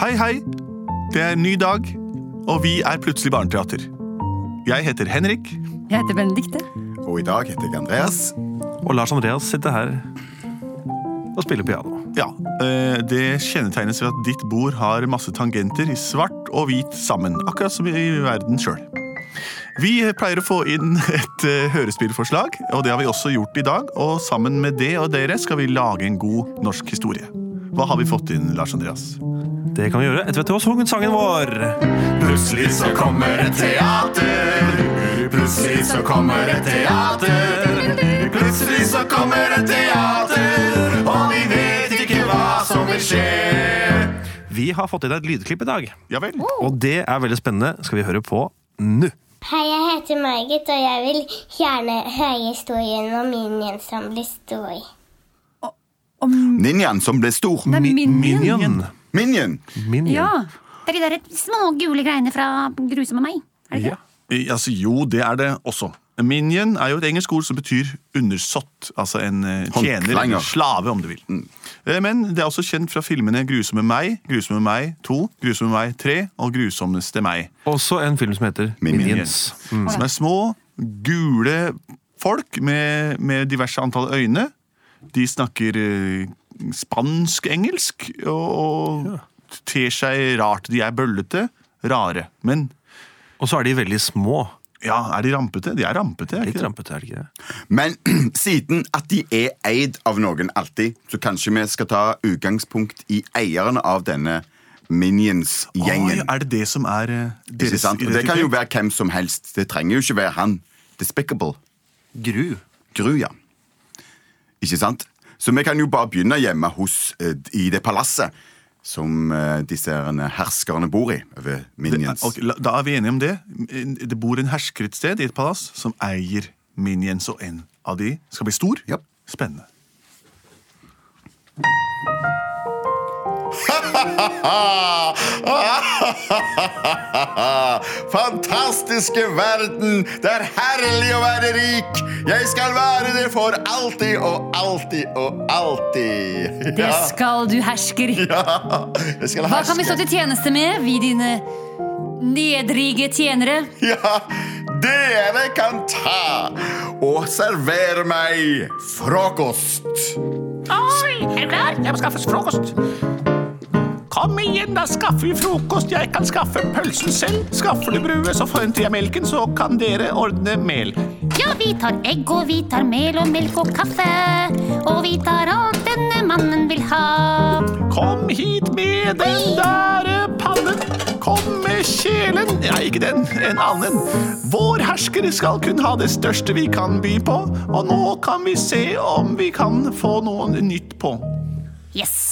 Hei, hei! Det er en ny dag, og vi er plutselig barneteater. Jeg heter Henrik, Jeg heter Benedikte. Og i dag heter jeg Andreas. Og Lars Andreas sitter her og spiller piano. Ja, eh, Det kjennetegnes ved at ditt bord har masse tangenter i svart og hvit sammen. Akkurat som i verden sjøl. Vi pleier å få inn et eh, hørespillforslag, og det har vi også gjort i dag. Og sammen med det og dere skal vi lage en god norsk historie. Hva har vi fått inn, Lars Andreas? Det kan vi gjøre etter at du har sunget sangen vår. Plutselig så kommer et teater. Plutselig så kommer et teater. Plutselig så kommer et teater, og vi vet ikke hva som vil skje. Vi har fått inn et lydklipp i dag, Ja vel? og det er veldig spennende. Skal vi høre på nå. Hei, jeg heter Margit, og jeg vil gjerne høre historien om Minion som blir stor. Ninjaen som ble stor. Det er Minion. Minion. Minion. Minion. Ja. Det er de der små gule greiene fra Grusomme meg. Er det ikke? Ja. I- Altså, jo, det er det også. Minion er jo et engelsk ord som betyr undersått. Altså en eh, tjener, Håndklanger. eller slave, om du vil. Eh, Men det er også kjent fra filmene Grusomme meg, Grusomme meg 2, Grusomme meg 3 og Grusomste meg. Også en film som heter Minions. Minions. Mm. Som er små, gule folk med, med diverse antall øyne. De snakker eh, spansk-engelsk og, og ter seg rart. De er bøllete, rare. Men Og så er de veldig små. ja, er de rampete? De er rampete. er Litt ikke det? rampete, er det ikke det? Men siden at de er eid av noen alltid, så kanskje vi skal ta utgangspunkt i eierne av denne Minions-gjengen. Oi, er det det som er eh, deres Ikke sant? Og det kan jo være hvem som helst. Det trenger jo ikke være han. Despicable. Gru. Gru, ja. Ikke sant? Så vi kan jo bare begynne hjemme hos, eh, i det palasset som eh, disse herrene herskerne bor i, over Minions. Ok, la- da er vi enige om det. Det bor en hersker et sted i et palass som eier minions, og en av de skal bli stor. Ja. Spennende. Fantastiske verden! Det er herlig å være rik! Jeg skal være det for alltid og alltid og alltid. Det skal du, hersker. Jeg skal Hva kan vi stå til tjeneste med, vi dine nedrige tjenere? Ja, dere kan ta og servere meg frokost. Oi, er du klar? Jeg må skaffes frokost. Kom igjen, da skaffer vi frokost. Jeg kan skaffe pølsen selv. Skaffer du brue, så forhenter jeg melken, så kan dere ordne mel. Ja, vi tar egg, og vi tar mel og melk og kaffe. Og vi tar alt denne mannen vil ha. Kom hit med den derre pannen. Kom med kjelen. Nei, ikke den, en annen. Vår hersker skal kun ha det største vi kan by på, og nå kan vi se om vi kan få noe nytt på. Yes.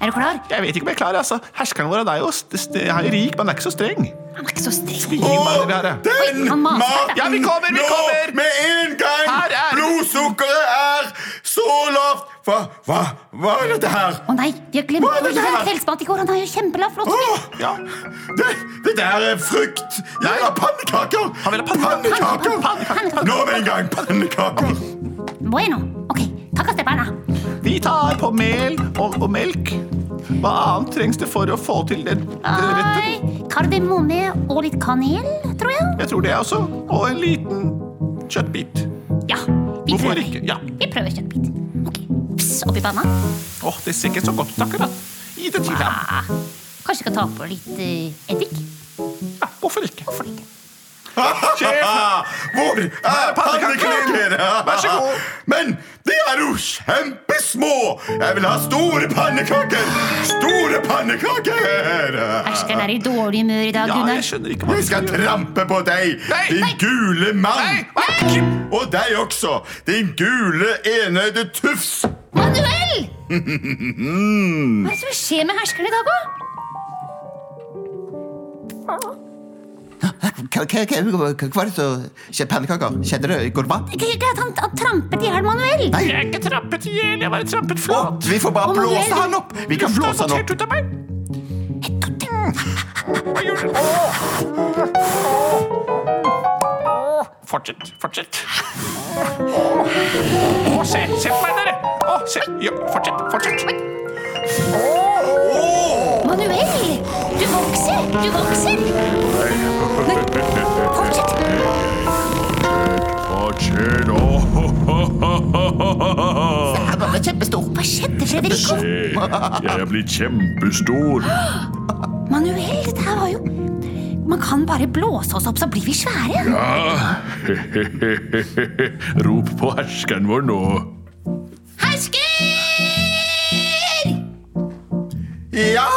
Er du klar? Jeg vet ikke om jeg klarer, altså. Herskeren vår han er jo st- st- han er rik, men han er ikke så streng. Han er ikke så streng. Gi meg det her, jeg. Den han maser. maten Ja, vi kommer, vi nå kommer! med en gang! Her er- Blodsukkeret er så lavt! Hva, hva, hva er dette her? Å nei, vi har glemt Hva er å det gi ham her? kveldsmat i går. Han har jo kjempelav blodsukker. Åh, det, det der er frukt! Jeg vil ha pannekaker! Han vil ha pannekaker! Pannekaker. Nå med en gang, pannekaker! Bueno. Ok, takk til barna. Vi tar på mel og, og melk. Hva annet trengs det for å få til den, den retten? Nei, Kardemomme og litt kanel, tror jeg. Jeg tror det også. Og en liten kjøttbit. Ja, vi Hvorfor prøver. ikke? Ja. Vi prøver kjøttbit. Ok, Pss, oppi panna. Åh, Det ser ikke så godt ut akkurat. Gi det til ham. Ah, kanskje vi skal ta på litt eh, eddik? Ja, hvorfor ikke? Ah, Hvor er pannekakene? Vær så god. Men de er jo kjempesmå! Jeg vil ha store pannekaker! Store pannekaker! Herskeren er i dårlig humør i dag, Ja, Gunnar. jeg skjønner ikke hva Jeg skal trampe på deg, Nei, din nei. gule mann! Nei, nei. Og deg også, din gule enøyde tufs! Manuel! Hva er det som skjer med herskeren i dag, da? Hva, hva, hva, hva hva var det som skjedde? Pannekaker? Skjedde det? Går det bra? Det er ikke at han, han trampet i hjel Manuel. Nei. Jeg er ikke trampet i hjel. Jeg var trampet flat. Vi får bare Å, Manuel, blåse han opp! Vi kan Lufta blåse falt han opp. helt ut av meg. Hva gjør du? Åh. Åh. Fortsett, fortsett. Åh, Åh, se, se på meg, dere. Åh, se. Ja, fortsett, fortsett. Manuel, du vokser, du vokser. Nei, fortsett. Hva skjer nå? Han var kjempestor. Hva skjedde, Frederico? Jeg er blitt kjempestor. Manuel, dette her var jo Man kan bare blåse oss opp, så blir vi svære. Ah. Rop på herskeren vår nå. Hersker! Ja,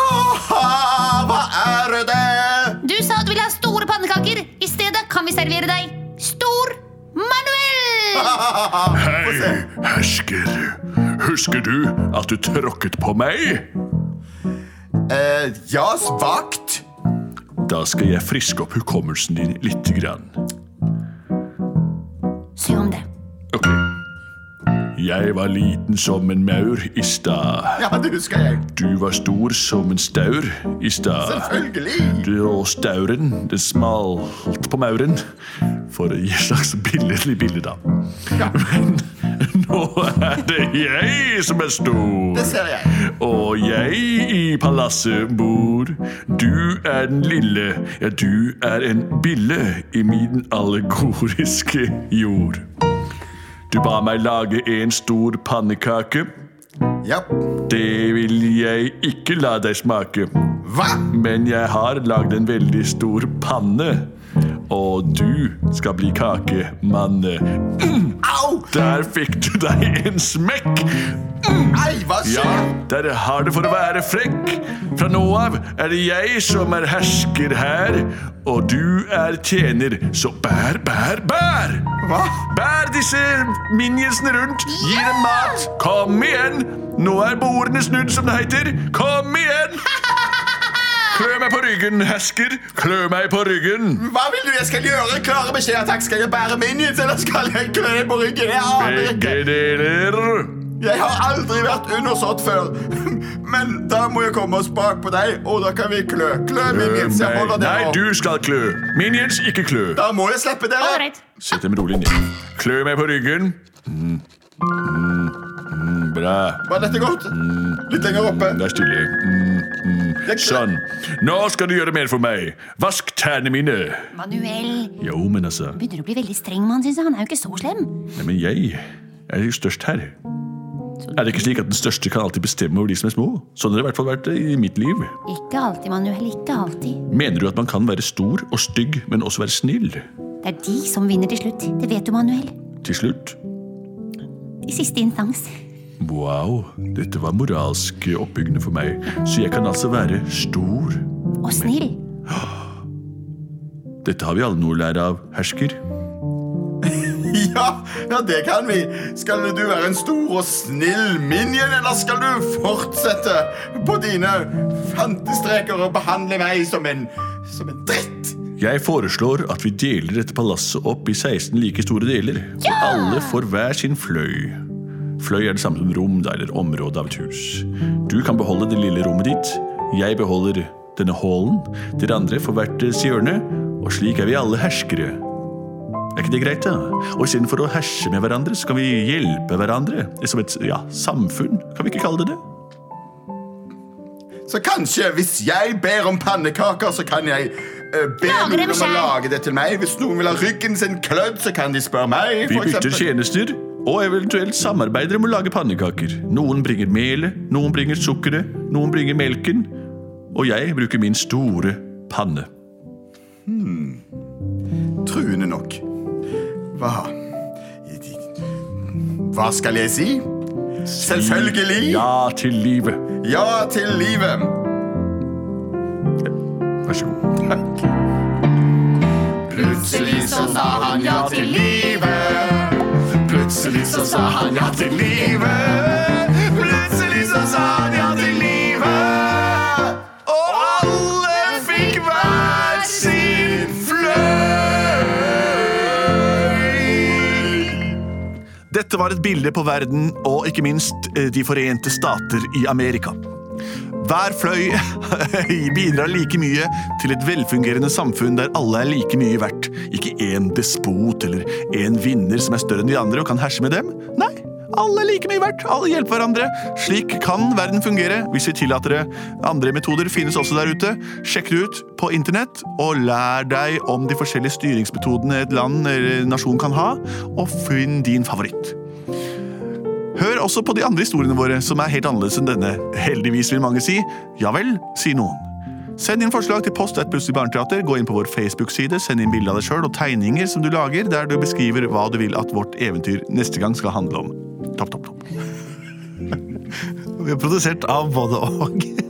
hva er det? Du sa at du ville ha store pannekaker. I stedet kan vi servere deg Stor Manuel! Hei, hersker. Husker du at du tråkket på meg? Eh, ja, svakt. Da skal jeg friske opp hukommelsen din lite grann. Sy om det. Ok. Jeg var liten som en maur i stad. Ja, det husker jeg. Du var stor som en staur i stad. Selvfølgelig. Du og stauren, det smalt på mauren. For å gi et slags billedlig bilde, da. Men nå er det jeg som er stor. Det ser jeg. Og jeg i palasset bor. Du er den lille, ja, du er en bille i min allegoriske jord. Du ba meg lage en stor pannekake. Ja. Det vil jeg ikke la deg smake. Hva? Men jeg har lagd en veldig stor panne. Og du skal bli kakemanne. Mm. Au! Der fikk du deg en smekk. Mm. Nei, hva Ja, skjer? dere har det for å være frekk. Fra nå av er det jeg som er hersker her, og du er tjener, så bær, bær, bær! Hva? Bær disse minionsene rundt, gi dem mat. Kom igjen! Nå er bordene snudd, som det heter. Kom igjen! Klø meg på ryggen, hersker. Klø meg på ryggen. Hva vil du jeg skal gjøre? Klare beskjeder, takk. Skal jeg bære minions, eller skal jeg klø deg på ryggen? Jeg aner ikke. Begge deler. Jeg har aldri vært undersått før. Men da må jeg komme oss bak på deg, og da kan vi klø. Klø minions, jeg Nei, holder nei, dere du skal klø. Minions, ikke klø. Da må jeg slippe All dere. right. Sett dem rolig ned. Klø meg på ryggen. Mm. Mm. Mm, Bra. Var dette godt? Litt lenger oppe. Vær stille. Mm, mm. Sånn. Nå skal du gjøre mer for meg. Vask tærne mine. Manuel Jo, men altså begynner å bli veldig streng med han, synes jeg. Han er jo ikke så slem. Nei, men jeg er jo størst her. Er det ikke slik at den største kan alltid bestemme over de som er små? Sånn har det i hvert fall vært i mitt liv. Ikke alltid, Manuel. Ikke alltid. Mener du at man kan være stor og stygg, men også være snill? Det er de som vinner til slutt. Det vet du, Manuel. Til slutt I siste instans. Wow, dette var moralsk oppbyggende for meg. Så jeg kan altså være stor. Og snill. Dette har vi alle noe å lære av, hersker. Ja, ja, det kan vi. Skal du være en stor og snill minion, eller skal du fortsette på dine fantestreker og behandle meg som en, som en dritt? Jeg foreslår at vi deler dette palasset opp i 16 like store deler. Og alle får hver sin fløy. Fløy er det samme som rom da, eller område av et hus. Du kan beholde det lille rommet ditt. Jeg beholder denne hallen. Dere andre får hvert deres hjørne. Og slik er vi alle herskere. Er ikke det greit, da? Og istedenfor å herse med hverandre, så kan vi hjelpe hverandre. Som et ja, samfunn, kan vi ikke kalle det det? Så kanskje, hvis jeg ber om pannekaker, så kan jeg eh, be Lager dem noen om å selv. lage det til meg. Hvis noen vil ha ryggen sin klødd, så kan de spørre meg. Vi for bytter eksempel. tjenester og eventuelt samarbeider om å lage pannekaker. Noen bringer melet, noen bringer sukkeret, noen bringer melken. Og jeg bruker min store panne. Truende nok. Hva Hva skal jeg si? Selvfølgelig! Ja til livet. Ja til livet! Vær så god. Plutselig så sa han ja til livet. Plutselig så sa han ja til livet. Plutselig så sa han ja til livet. Og alle fikk hver sin fløy. Dette var et bilde på verden og ikke minst eh, De forente stater i Amerika. Hver fløy bidrar like mye til et velfungerende samfunn der alle er like mye verdt. Ikke én despot eller én vinner som er større enn de andre og kan herse med dem. Nei, Alle er like mye verdt. Alle hjelper hverandre. Slik kan verden fungere hvis vi tillater det. Andre metoder finnes også der ute. Sjekk det ut på internett, og lær deg om de forskjellige styringsmetodene et land eller en nasjon kan ha, og finn din favoritt. Hør også på de andre historiene våre, som er helt annerledes enn denne. Heldigvis vil mange si ja vel, sier noen. Send inn forslag til post et plutselig barneteater, gå inn på vår Facebook-side, send inn bilde av deg sjøl og tegninger som du lager, der du beskriver hva du vil at vårt eventyr neste gang skal handle om. Topp, topp, topp. Vi er produsert av både og.